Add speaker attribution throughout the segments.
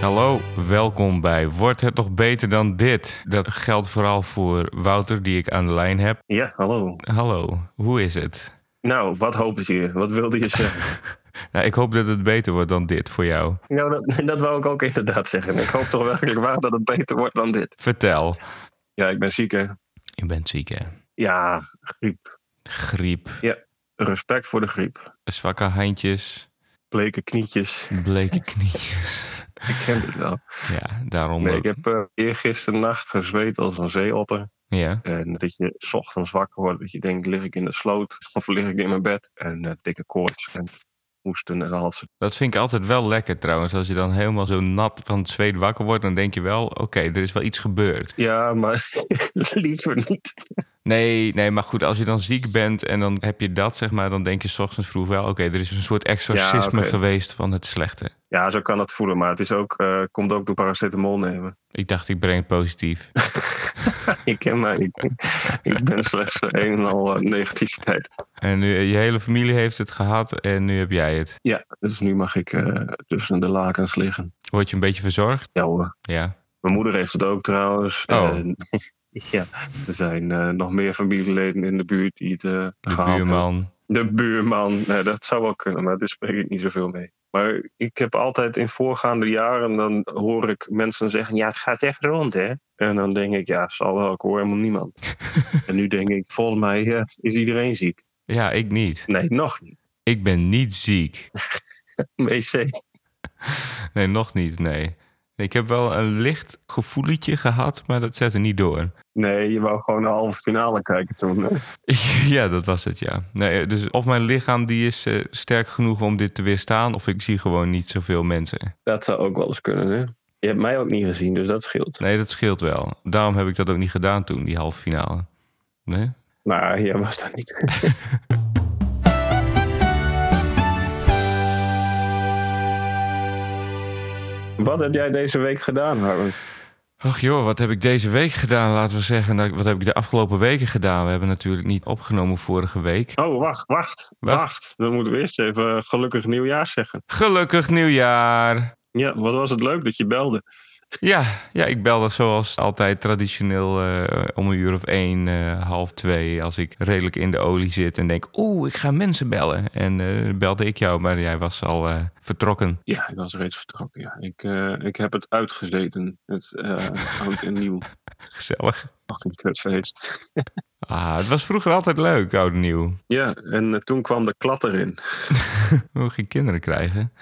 Speaker 1: Hallo, welkom bij Wordt het nog beter dan dit? Dat geldt vooral voor Wouter, die ik aan de lijn heb.
Speaker 2: Ja, hallo.
Speaker 1: Hallo, hoe is het?
Speaker 2: Nou, wat hopen ze je? Wat wilde je zeggen?
Speaker 1: Nou, ik hoop dat het beter wordt dan dit voor jou.
Speaker 2: nou, dat, dat wou ik ook inderdaad zeggen. Ik hoop toch werkelijk waar dat het beter wordt dan dit.
Speaker 1: Vertel.
Speaker 2: Ja, ik ben ziek hè.
Speaker 1: Je bent ziek, hè?
Speaker 2: Ja, griep.
Speaker 1: Griep,
Speaker 2: Respect voor de griep.
Speaker 1: zwakke handjes,
Speaker 2: Bleke knietjes.
Speaker 1: bleke knietjes.
Speaker 2: Ik ken het wel.
Speaker 1: Ja, daarom...
Speaker 2: Nee,
Speaker 1: ook-
Speaker 2: ik heb eh eergisteren nacht gezweet als een zeeotter.
Speaker 1: Ja,
Speaker 2: En dat je 's ochtends wakker wordt. Dat je denkt, lig ik in de sloot? Of lig ik in mijn bed? En eh, dikke koorts en hoesten en halsen.
Speaker 1: dat vind ik altijd wel lekker trouwens. Als je dan helemaal zo nat van het zweet wakker wordt, dan denk je wel... Oké, er is wel iets gebeurd.
Speaker 2: Ja, maar liever niet.
Speaker 1: Nee, nee, maar goed, als je dan ziek bent en dan heb je dat, zeg maar, dan denk je 's ochtends vroeg wel, oké, er is een soort exorcisme
Speaker 2: Ja, oké.
Speaker 1: geweest van het slechte.
Speaker 2: Ja, zo kan het voelen. Maar het is ook, eh, komt ook door paracetamol nemen.
Speaker 1: Ik dacht, ik breng het positief.
Speaker 2: Ik ken mij. Ik, ik ben slechts een en al eh, negativiteit.
Speaker 1: en nu, je hele familie heeft het gehad en nu heb jij het.
Speaker 2: Ja, dus nu mag ik eh, tussen de lakens liggen.
Speaker 1: Word je een beetje verzorgd?
Speaker 2: Ja hoor.
Speaker 1: Ja.
Speaker 2: Mijn moeder heeft het ook trouwens.
Speaker 1: Oh.
Speaker 2: En, ja, er zijn eh, nog meer familieleden in de buurt die het eh
Speaker 1: De
Speaker 2: gehaald hebben.
Speaker 1: buurman.
Speaker 2: De buurman. Nee, dat zou wel kunnen, maar daar spreek ik niet zoveel mee. Maar ik heb altijd in voorgaande jaren, dan hoor ik mensen zeggen, ja, het gaat echt rond, hè? En dan denk ik, ja, zal wel, ik hoor helemaal niemand. en nu denk ik, volgens mij eh, is iedereen ziek.
Speaker 1: Ja, ik niet.
Speaker 2: Nee, nog niet.
Speaker 1: Ik ben niet ziek.
Speaker 2: WC.
Speaker 1: Nee, nog niet, nee. Ik heb wel een licht gevoeletje gehad, maar dat zet er niet door.
Speaker 2: Nee, je wou gewoon de halve finale kijken toen. hè?
Speaker 1: Ja, dat was het, ja. Nee, dus of mijn lichaam die is eh, sterk genoeg om dit te weerstaan, of ik zie gewoon niet zoveel mensen.
Speaker 2: Dat zou ook wel eens kunnen, hè? Je hebt mij ook niet gezien, dus dat scheelt.
Speaker 1: Nee, dat scheelt wel. Daarom heb ik dat ook niet gedaan toen, die halve finale. Nee?
Speaker 2: Maar jij Nou, was dat niet. Wat heb jij deze week gedaan, Harm?
Speaker 1: Ach joh, wat heb ik deze week gedaan? Laten we zeggen, nou, wat heb ik de afgelopen weken gedaan? We hebben natuurlijk niet opgenomen vorige week.
Speaker 2: Oh, wacht, wacht,
Speaker 1: Wacht.
Speaker 2: wacht. Dan moeten we eerst even eh, gelukkig nieuwjaar zeggen.
Speaker 1: Gelukkig nieuwjaar!
Speaker 2: Ja, wat was het leuk dat je belde.
Speaker 1: Ja, ja ik belde zoals altijd traditioneel eh, om een uur of één, eh, half twee. Als ik redelijk in de olie zit en denk, oeh, ik ga mensen bellen. En eh, belde ik jou, maar jij was al eh, vertrokken.
Speaker 2: Ja, ik was reeds vertrokken, ja. Ik, eh, ik heb het uitgezeten, het eh oud en nieuw.
Speaker 1: Gezellig.
Speaker 2: Fucking kutfeest.
Speaker 1: Ah, het was vroeger altijd leuk, oud en nieuw.
Speaker 2: Ja, en eh, toen kwam de klat erin.
Speaker 1: We mogen geen kinderen krijgen.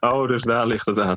Speaker 2: Oh, dus daar ligt het aan.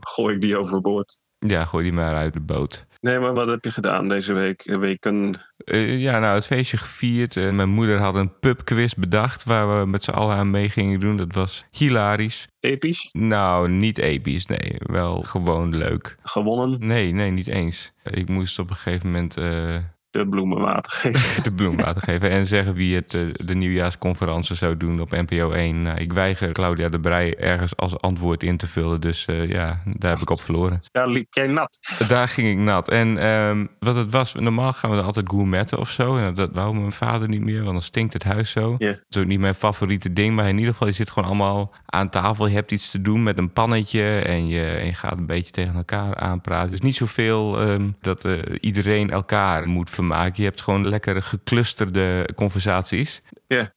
Speaker 2: Gooi ik die overboord.
Speaker 1: Ja, gooi die maar uit de boot.
Speaker 2: Nee, maar wat heb je gedaan deze week? Eh, Weken.
Speaker 1: Eh, ja, nou, het feestje gevierd. en mijn moeder had een pubquiz bedacht waar we met z'n allen aan mee gingen doen. Dat was hilarisch.
Speaker 2: Episch.
Speaker 1: Nou, niet episch, nee. Wel gewoon leuk.
Speaker 2: Gewonnen.
Speaker 1: Nee, nee, niet eens. Ik moest op een gegeven moment eh,
Speaker 2: De bloemenwater geven.
Speaker 1: de bloemwater geven en zeggen wie het, eh, de nieuwjaarsconferentie zou doen op NPO 1. Nou, ik weiger Claudia de Brij ergens als antwoord in te vullen, dus eh, ja, daar heb ik op verloren.
Speaker 2: Daar liep jij nat.
Speaker 1: Daar ging ik nat. En ehm, wat het was, normaal gaan we dan altijd gourmetten of zo. En dat wou mijn vader niet meer, want dan stinkt het huis zo.
Speaker 2: Ja.
Speaker 1: Dat is ook niet mijn favoriete ding, maar in ieder geval, je zit gewoon allemaal aan tafel. Je hebt iets te doen met een pannetje en je, en je gaat een beetje tegen elkaar aanpraten. Dus niet zoveel ehm, dat eh, iedereen elkaar moet vermaken. Je hebt gewoon lekkere geclusterde conversaties.
Speaker 2: Ja.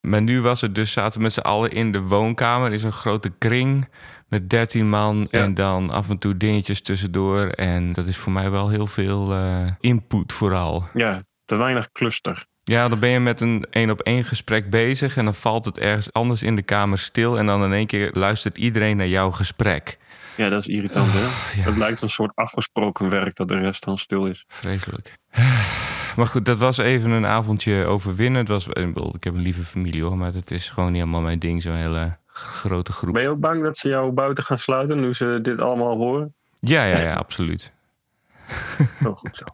Speaker 1: Maar nu was het dus, zaten we met z'n allen in de woonkamer. Er is een grote kring met 13 man
Speaker 2: Ja.
Speaker 1: en dan af en toe dingetjes tussendoor. En dat is voor mij wel heel veel eh, input vooral.
Speaker 2: Ja, te weinig cluster.
Speaker 1: Ja, dan ben je met een één op één gesprek bezig en dan valt het ergens anders in de kamer stil. En dan in één keer luistert iedereen naar jouw gesprek.
Speaker 2: Ja, dat is irritant, hè?
Speaker 1: Oh, ja.
Speaker 2: Het lijkt een soort afgesproken werk dat de rest dan stil is.
Speaker 1: Vreselijk. Maar goed, dat was even een avondje overwinnen. Het was, eh, ik bedoel, ik heb een lieve familie hoor, maar dat is gewoon niet helemaal mijn ding, zo'n hele grote groep.
Speaker 2: Ben je ook bang dat ze jou buiten gaan sluiten nu ze dit allemaal horen?
Speaker 1: Ja, ja, ja, absoluut.
Speaker 2: Oh, goed zo.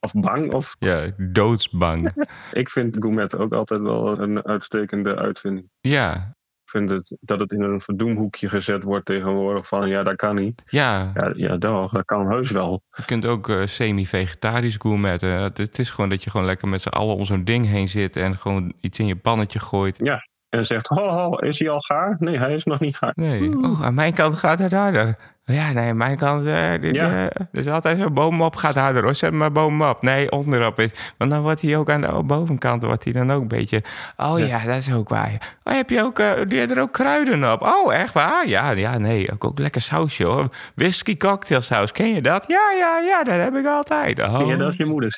Speaker 2: Of bang, of...
Speaker 1: Ja, doodsbang.
Speaker 2: Ik vind gourmet ook altijd wel een uitstekende uitvinding.
Speaker 1: Ja,
Speaker 2: Ik vind het, dat het in een verdoemhoekje gezet wordt tegenwoordig van ja, dat kan niet.
Speaker 1: ja,
Speaker 2: Ja, ja toch, dat kan heus wel.
Speaker 1: Je kunt ook eh, semi-vegetarisch Eh, gourmetten. Het, het is gewoon dat je gewoon lekker met z'n allen om zo'n ding heen zit en gewoon iets in je pannetje gooit.
Speaker 2: Ja. En zegt, ho, ho, is hij al gaar? Nee, hij is nog niet gaar.
Speaker 1: Nee. Oh, aan mijn kant gaat het harder. Ja, nee, aan mijn kant. eh, dit,
Speaker 2: Ja.
Speaker 1: eh, er is altijd zo'n boom op, gaat harder hoor. Zet maar boom op. Nee, onderop is. Want dan wordt hij ook aan de bovenkant, wordt hij dan ook een beetje. Oh ja, dat is ook waar. Oh, heb je ook, eh doe je er ook kruiden op? Oh, echt waar? Ja, ja, nee. Ook, ook lekker sausje hoor. Whisky cocktail saus, ken je dat? Ja, ja, ja, dat heb ik altijd. Oh.
Speaker 2: Ja, dat is je moeder.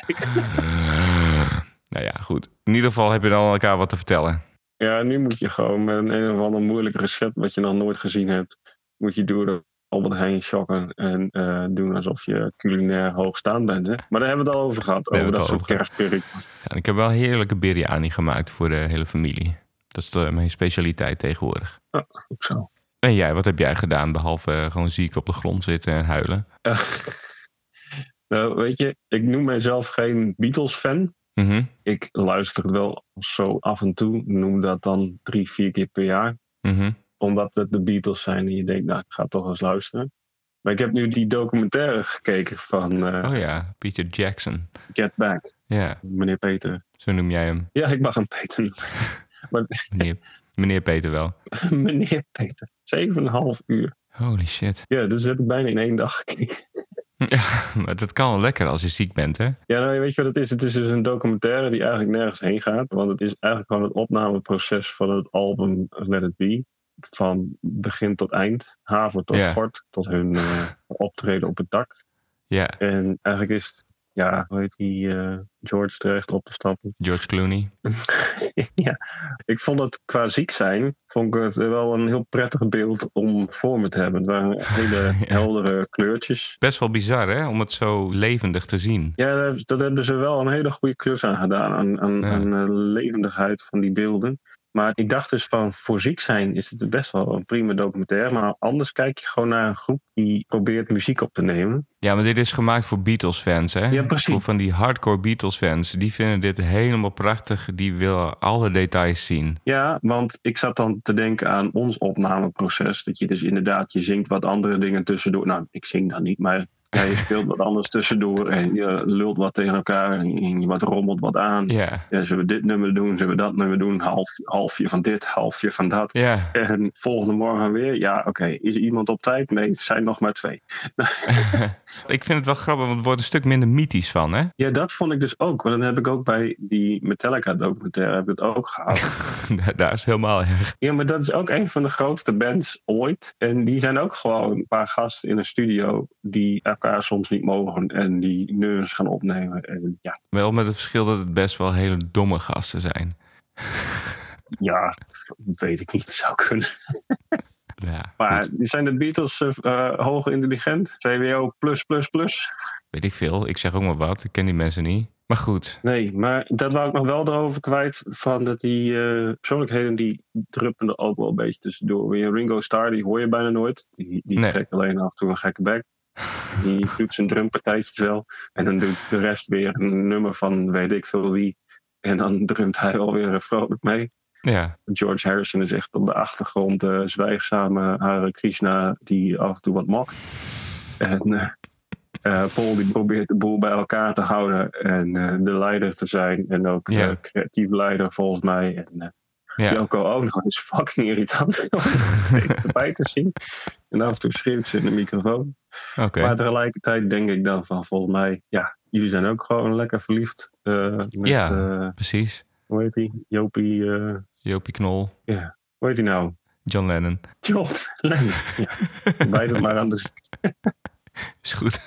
Speaker 1: Nou ja, goed. In ieder geval heb je dan elkaar wat te vertellen.
Speaker 2: Ja, nu moet je gewoon met een, een of ander moeilijk recept wat je nog nooit gezien hebt, moet je door de Albert Heijn shoppen en eh, doen alsof je culinair hoogstaand bent. Hè? Maar daar hebben we het al over gehad,
Speaker 1: Daar
Speaker 2: over
Speaker 1: hebben
Speaker 2: dat
Speaker 1: we
Speaker 2: soort
Speaker 1: het al
Speaker 2: kerstpirk.
Speaker 1: Ja, en ik heb wel heerlijke biryani gemaakt voor de hele familie. Dat is eh, mijn specialiteit tegenwoordig.
Speaker 2: Ook zo.
Speaker 1: En jij, wat heb jij gedaan behalve eh, gewoon ziek op de grond zitten en huilen?
Speaker 2: Eh, nou, weet je, ik noem mijzelf geen Beatles-fan.
Speaker 1: Mhm,
Speaker 2: Ik luister het wel zo af en toe, noem dat dan drie, vier keer per jaar.
Speaker 1: mhm.
Speaker 2: omdat het de Beatles zijn en je denkt, nou, ik ga toch eens luisteren. Maar ik heb nu die documentaire gekeken van eh,
Speaker 1: Oh ja, Peter Jackson.
Speaker 2: Get Back,
Speaker 1: Ja,
Speaker 2: meneer Peter.
Speaker 1: zo noem jij hem.
Speaker 2: Ja, ik mag hem Peter noemen.
Speaker 1: Meneer, meneer Peter wel.
Speaker 2: meneer Peter. Zeven en een half uur.
Speaker 1: Holy shit.
Speaker 2: Ja, dus heb ik bijna in één dag gekeken.
Speaker 1: Maar dat kan wel lekker als je ziek bent, hè?
Speaker 2: Ja, nou, weet je wat het is? Het is dus een documentaire die eigenlijk nergens heen gaat. Want het is eigenlijk gewoon het opnameproces van het album Let It Be. Van begin tot eind. Haven tot
Speaker 1: Ja.
Speaker 2: gort. Tot hun eh, optreden op het dak.
Speaker 1: Ja,
Speaker 2: En eigenlijk is het, ja, hoe heet die, eh, George terecht op te stappen.
Speaker 1: George Clooney.
Speaker 2: ja, ik vond het qua ziek zijn, vond ik het wel een heel prettig beeld om voor me te hebben. Het waren hele
Speaker 1: Ja.
Speaker 2: heldere kleurtjes.
Speaker 1: Best wel bizar, hè? Om het zo levendig te zien.
Speaker 2: Ja, daar- dat hebben ze wel een hele goede klus aan gedaan, aan, aan,
Speaker 1: Ja.
Speaker 2: aan de levendigheid van die beelden. Maar ik dacht dus van, voor ziek zijn is het best wel een prima documentaire. Maar anders kijk je gewoon naar een groep die probeert muziek op te nemen.
Speaker 1: Ja, maar dit is gemaakt voor Beatles-fans, hè?
Speaker 2: Ja, precies.
Speaker 1: Voor van die hardcore Beatles-fans. Die vinden dit helemaal prachtig. Die willen alle details zien.
Speaker 2: Ja, want ik zat dan te denken aan ons opnameproces. Dat je dus inderdaad, je zingt wat andere dingen tussendoor. Nou, ik zing dan niet, maar ja, je speelt wat anders tussendoor. En je lult wat tegen elkaar en je wat rommelt wat aan.
Speaker 1: Ja,
Speaker 2: Ja, zullen we dit nummer doen, zullen we dat nummer doen? Half, halfje van dit, halfje van dat.
Speaker 1: ja.
Speaker 2: En volgende morgen weer, ja oké, is iemand op tijd? Nee, het zijn nog maar twee.
Speaker 1: Ik vind het wel grappig, want het wordt een stuk minder mythisch van, hè?
Speaker 2: Ja, dat vond ik dus ook. Want dat heb ik ook bij die Metallica documentaire heb ik het ook gehad.
Speaker 1: Daar is helemaal erg.
Speaker 2: Ja, maar dat is ook een van de grootste bands ooit. En die zijn ook gewoon een paar gasten in een studio die elkaar soms niet mogen en die nummers gaan opnemen. En ja,
Speaker 1: Wel met het verschil dat het best wel hele domme gasten zijn.
Speaker 2: ja weet ik niet, zou kunnen.
Speaker 1: Ja,
Speaker 2: Maar
Speaker 1: goed,
Speaker 2: zijn de Beatles eh, eh, hoog intelligent? VWO plus plus plus?
Speaker 1: weet ik veel. Ik zeg ook maar wat. Ik ken die mensen niet. Maar goed,
Speaker 2: Nee, maar dat wou ik nog wel erover kwijt. Van dat die eh, persoonlijkheden die druppen er ook wel een beetje tussendoor. Weer Ringo Starr, die hoor je bijna nooit. Die, die
Speaker 1: Nee.
Speaker 2: trekt alleen af en toe een gekke bek. Die doet zijn drumpartijtjes wel. En dan doet de rest weer een nummer van weet ik veel wie. En dan drumt hij wel weer eh, vrolijk mee.
Speaker 1: ja.
Speaker 2: George Harrison is echt op de achtergrond de zwijgzame Hare Krishna die af en toe wat mokt. En eh, eh, Paul die probeert de boel bij elkaar te houden en eh, de leider te zijn. En ook
Speaker 1: Ja.
Speaker 2: eh, creatief leider volgens mij. En eh,
Speaker 1: ja.
Speaker 2: Joko Ono is fucking irritant om steeds erbij te zien. En af en toe schreeuwt ze in de microfoon.
Speaker 1: Oké.
Speaker 2: Maar tegelijkertijd denk ik dan van volgens mij, ja, jullie zijn ook gewoon lekker verliefd. eh, met,
Speaker 1: Ja.
Speaker 2: eh,
Speaker 1: Precies.
Speaker 2: hoe heet die? Jopie, eh,
Speaker 1: Jopie Knol,
Speaker 2: hoe heet die nou?
Speaker 1: John Lennon.
Speaker 2: John Lennon. Ja. Beide maar anders.
Speaker 1: Is goed.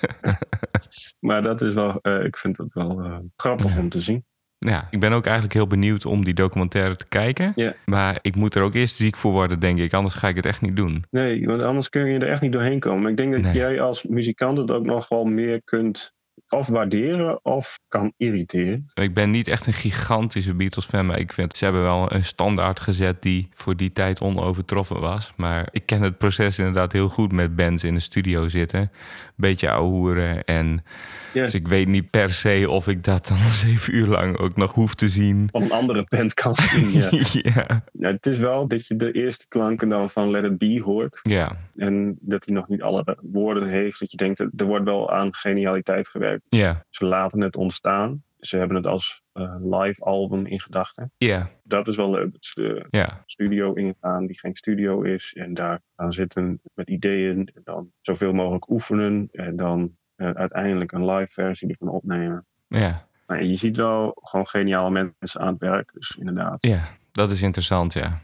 Speaker 2: Maar dat is wel, eh, ik vind dat wel eh, grappig om te zien.
Speaker 1: Ja, ik ben ook eigenlijk heel benieuwd om die documentaire te kijken.
Speaker 2: Ja.
Speaker 1: Maar ik moet er ook eerst ziek voor worden, denk ik. Anders ga ik het echt niet doen.
Speaker 2: Nee, want anders kun je er echt niet doorheen komen. Ik denk dat
Speaker 1: Nee.
Speaker 2: jij als muzikant het ook nog wel meer kunt of waarderen of kan irriteren.
Speaker 1: Ik ben niet echt een gigantische Beatles-fan, maar ik vind ze hebben wel een standaard gezet die voor die tijd onovertroffen was. Maar ik ken het proces inderdaad heel goed met bands in de studio zitten. Beetje ouwehoeren en...
Speaker 2: Ja.
Speaker 1: Dus ik weet niet per se of ik dat dan zeven uur lang ook nog hoef te zien.
Speaker 2: Van een andere band kan zien. Ja.
Speaker 1: ja.
Speaker 2: Ja, het is wel dat je de eerste klanken dan van Let It Be hoort.
Speaker 1: Ja.
Speaker 2: En dat hij nog niet alle woorden heeft. Dat je denkt, er wordt wel aan genialiteit gewerkt.
Speaker 1: Ja.
Speaker 2: Ze laten het ontstaan. ze hebben het als eh, live album in gedachten.
Speaker 1: Ja,
Speaker 2: Dat is wel leuk. Dus, eh, Dat ze de
Speaker 1: ja.
Speaker 2: studio ingaan die geen studio is. En daar gaan zitten met ideeën. En dan zoveel mogelijk oefenen. En dan eh, uiteindelijk een live versie ervan opnemen.
Speaker 1: Ja,
Speaker 2: Maar je ziet wel gewoon geniale mensen aan het werk. Dus inderdaad.
Speaker 1: ja. Dat is interessant, ja.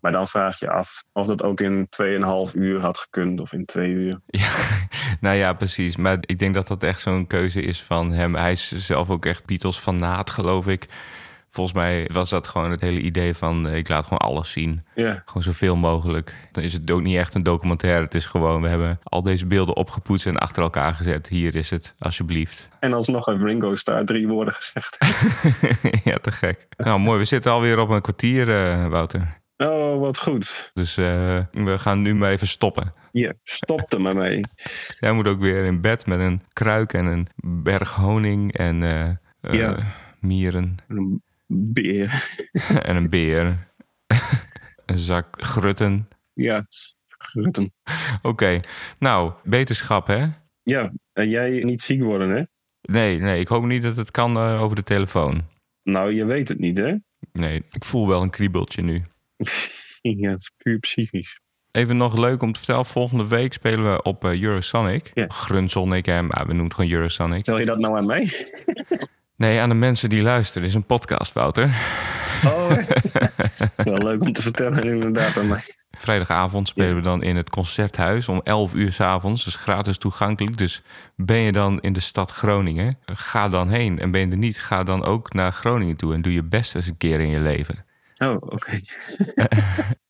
Speaker 2: Maar dan vraag je af of dat ook in 2,5 uur had gekund of in 2 uur.
Speaker 1: Ja, nou ja, precies. Maar ik denk dat dat echt zo'n keuze is van hem. Hij is zelf ook echt Beatles-fanaat, geloof ik. Volgens mij was dat gewoon het hele idee van... eh, ik laat gewoon alles zien.
Speaker 2: Ja,
Speaker 1: Gewoon zoveel mogelijk. Dan is het ook niet echt een documentaire. Het is gewoon, we hebben al deze beelden opgepoetst en achter elkaar gezet. Hier is het, alsjeblieft.
Speaker 2: en alsnog heeft Ringo Starr drie woorden gezegd.
Speaker 1: ja, te gek. Nou, mooi. We zitten alweer op een kwartier, eh, Wouter.
Speaker 2: Oh, wat goed.
Speaker 1: Dus eh, we gaan nu maar even stoppen.
Speaker 2: Hier, stop er maar mee.
Speaker 1: Jij moet ook weer in bed met een kruik en een berg honing en eh, eh,
Speaker 2: Ja.
Speaker 1: mieren
Speaker 2: Een Beer.
Speaker 1: en een beer. een zak grutten.
Speaker 2: Ja, grutten.
Speaker 1: Oké, nou, beterschap hè?
Speaker 2: Ja, en jij niet ziek worden, hè?
Speaker 1: Nee, nee, ik hoop niet dat het kan eh, over de telefoon.
Speaker 2: Nou, je weet het niet, hè?
Speaker 1: Nee, ik voel wel een kriebeltje nu.
Speaker 2: Ja, het is puur psychisch.
Speaker 1: Even nog leuk om te vertellen, volgende week spelen we op eh, Eurosonic.
Speaker 2: Ja.
Speaker 1: Grunsonic, hè, maar Ah, we noemen het gewoon Eurosonic.
Speaker 2: Stel je dat nou aan mij?
Speaker 1: Nee, aan de mensen die luisteren. Dit is een podcast, Wouter.
Speaker 2: Oh, wel leuk om te vertellen inderdaad aan mij.
Speaker 1: Vrijdagavond spelen we dan in het concerthuis om 11 uur s'avonds. Dus gratis toegankelijk. Dus ben je dan in de stad Groningen, ga dan heen. En ben je er niet, ga dan ook naar Groningen toe. En doe je best eens een keer in je leven.
Speaker 2: Oh, oké.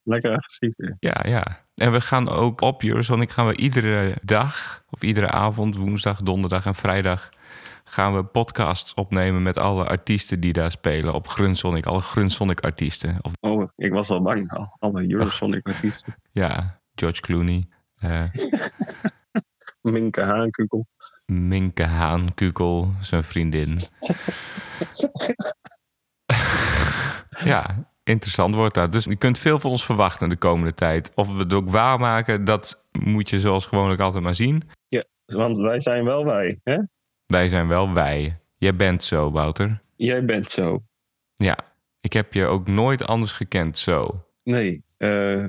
Speaker 2: Lekker agressief. hè?
Speaker 1: Ja, ja. En we gaan ook op Eurosonic gaan we iedere dag, of iedere avond, woensdag, donderdag en vrijdag... gaan we podcasts opnemen met alle artiesten die daar spelen op Grunsonic. Alle Grunsonic-artiesten. Of
Speaker 2: Oh, ik was wel bang. Al- Alle Eurosonic artiesten.
Speaker 1: ja, George Clooney, eh,
Speaker 2: Minke Haankukkel.
Speaker 1: Minke Haankukel, zijn vriendin. ja, interessant wordt dat. Dus je kunt veel van ons verwachten de komende tijd. Of we het ook waarmaken, dat moet je zoals gewoonlijk altijd maar zien.
Speaker 2: Want wij zijn wel wij, hè?
Speaker 1: Wij zijn wel wij. Jij bent zo, Wouter.
Speaker 2: Jij bent zo.
Speaker 1: Ja, ik heb je ook nooit anders gekend zo.
Speaker 2: Nee. eh,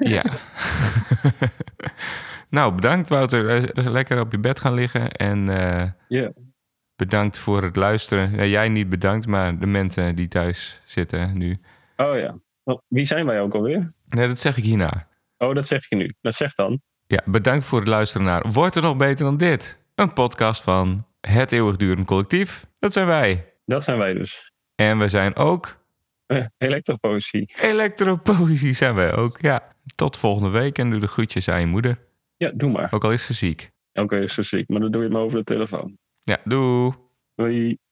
Speaker 1: Ja. nou, bedankt Wouter. Eh, Lekker op je bed gaan liggen. En eh,
Speaker 2: Ja.
Speaker 1: bedankt voor het luisteren. Ja, jij niet bedankt, maar de mensen die thuis zitten nu.
Speaker 2: oh ja. Wel, Wie zijn wij ook alweer?
Speaker 1: Nee, dat zeg ik hierna.
Speaker 2: Oh, dat zeg je nu. Dat zeg dan.
Speaker 1: Ja, bedankt voor het luisteren naar Wordt er nog beter dan dit? Een podcast van Het Eeuwigdurend Collectief. Dat zijn wij.
Speaker 2: Dat zijn wij dus.
Speaker 1: En we zijn ook
Speaker 2: Eh, Elektropoëzie.
Speaker 1: elektropoëzie zijn wij ook. Ja, tot volgende week en doe de groetjes aan je moeder.
Speaker 2: Ja, doe maar.
Speaker 1: Ook al is ze ziek.
Speaker 2: Oké, zo zie ik. Maar dan doe je het maar over de telefoon.
Speaker 1: Ja, doei.
Speaker 2: Doei.